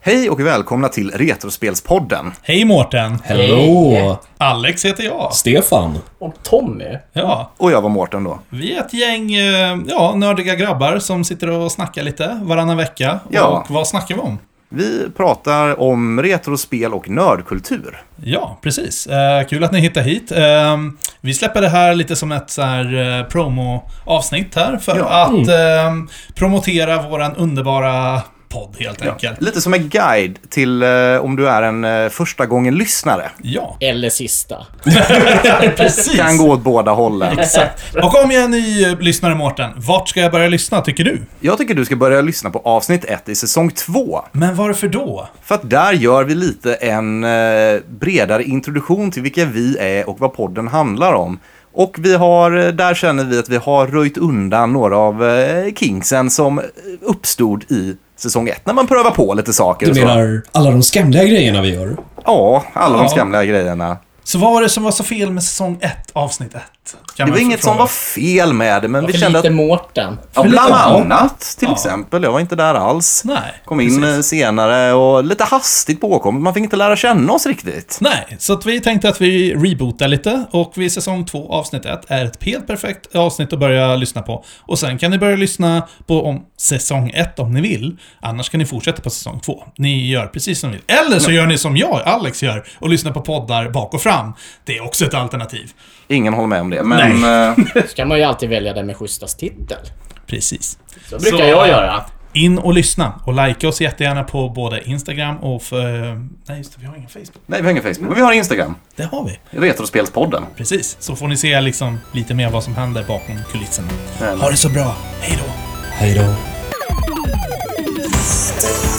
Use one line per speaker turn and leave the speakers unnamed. Hej och välkomna till Retrospelspodden.
Hej Mårten!
Hello!
Hej.
Alex heter jag.
Stefan!
Och Tommy.
Ja,
Och jag var Mårten då.
vi är ett gäng eh, ja, nördiga grabbar som sitter och snackar lite varannan vecka.
Ja.
Och vad snackar vi om?
Vi pratar om retrospel och nördkultur.
Ja, precis. Eh, kul att ni hittar hit. Eh, vi släpper det här lite som ett så här, eh, promo-avsnitt här för
Ja.
att eh, promotera våran underbara podd helt
Ja.
enkelt. Ja.
Lite som en guide till eh, om du är en eh, första gången lyssnare.
Eller sista.
precis.
Kan gå åt båda hållen.
Exakt. Och om jag är ny eh, lyssnare, Mårten, vart ska jag börja lyssna, tycker du?
Jag tycker du ska börja lyssna på avsnitt 1 i säsong 2.
Men varför då?
För att där gör vi lite en eh, bredare introduktion till vilka vi är och vad podden handlar om. Och vi har, eh, där känner vi att vi har röjt undan några av eh, kinksen som eh, uppstod i säsong 1 när man prövar på lite saker.
Du
och så.
menar alla de skamliga grejerna vi gör?
Ja, alla de
Ja.
skamliga grejerna.
Så vad var det som var så fel med säsong 1, avsnitt 1?
Det var inget som var fel med det, men vi
För
kände
lite
att...
Mårten.
Ja,
för lite
bland
av-
annat, till
Ja.
exempel. Jag var inte där alls.
Nej,
Kom in eh, senare och lite hastigt påkommet. Man fick inte lära känna oss riktigt.
Nej, så att vi tänkte att vi rebootar lite och vid säsong 2, avsnitt 1 är ett helt perfekt avsnitt att börja lyssna på. Och sen kan ni börja lyssna på om säsong 1 om ni vill. Annars kan ni fortsätta på säsong 2. Ni gör precis som ni vill. Eller så gör ni som jag, Alex, gör och lyssnar på poddar bak och fram. Det är också ett alternativ.
Ingen håller med om det, men... eh,
Så kan man ju alltid välja den med schysstast titel.
Precis.
Så brukar jag göra.
In och lyssna och likea oss jättegärna på både Instagram och... För, nej, just det, vi har ingen Facebook.
Nej, vi har ingen Facebook, men vi har Instagram.
Det har vi.
Retrospelspodden.
Precis, så får ni se liksom lite mer vad som händer bakom kulisserna. Ha det så bra, hej då!
Hej då.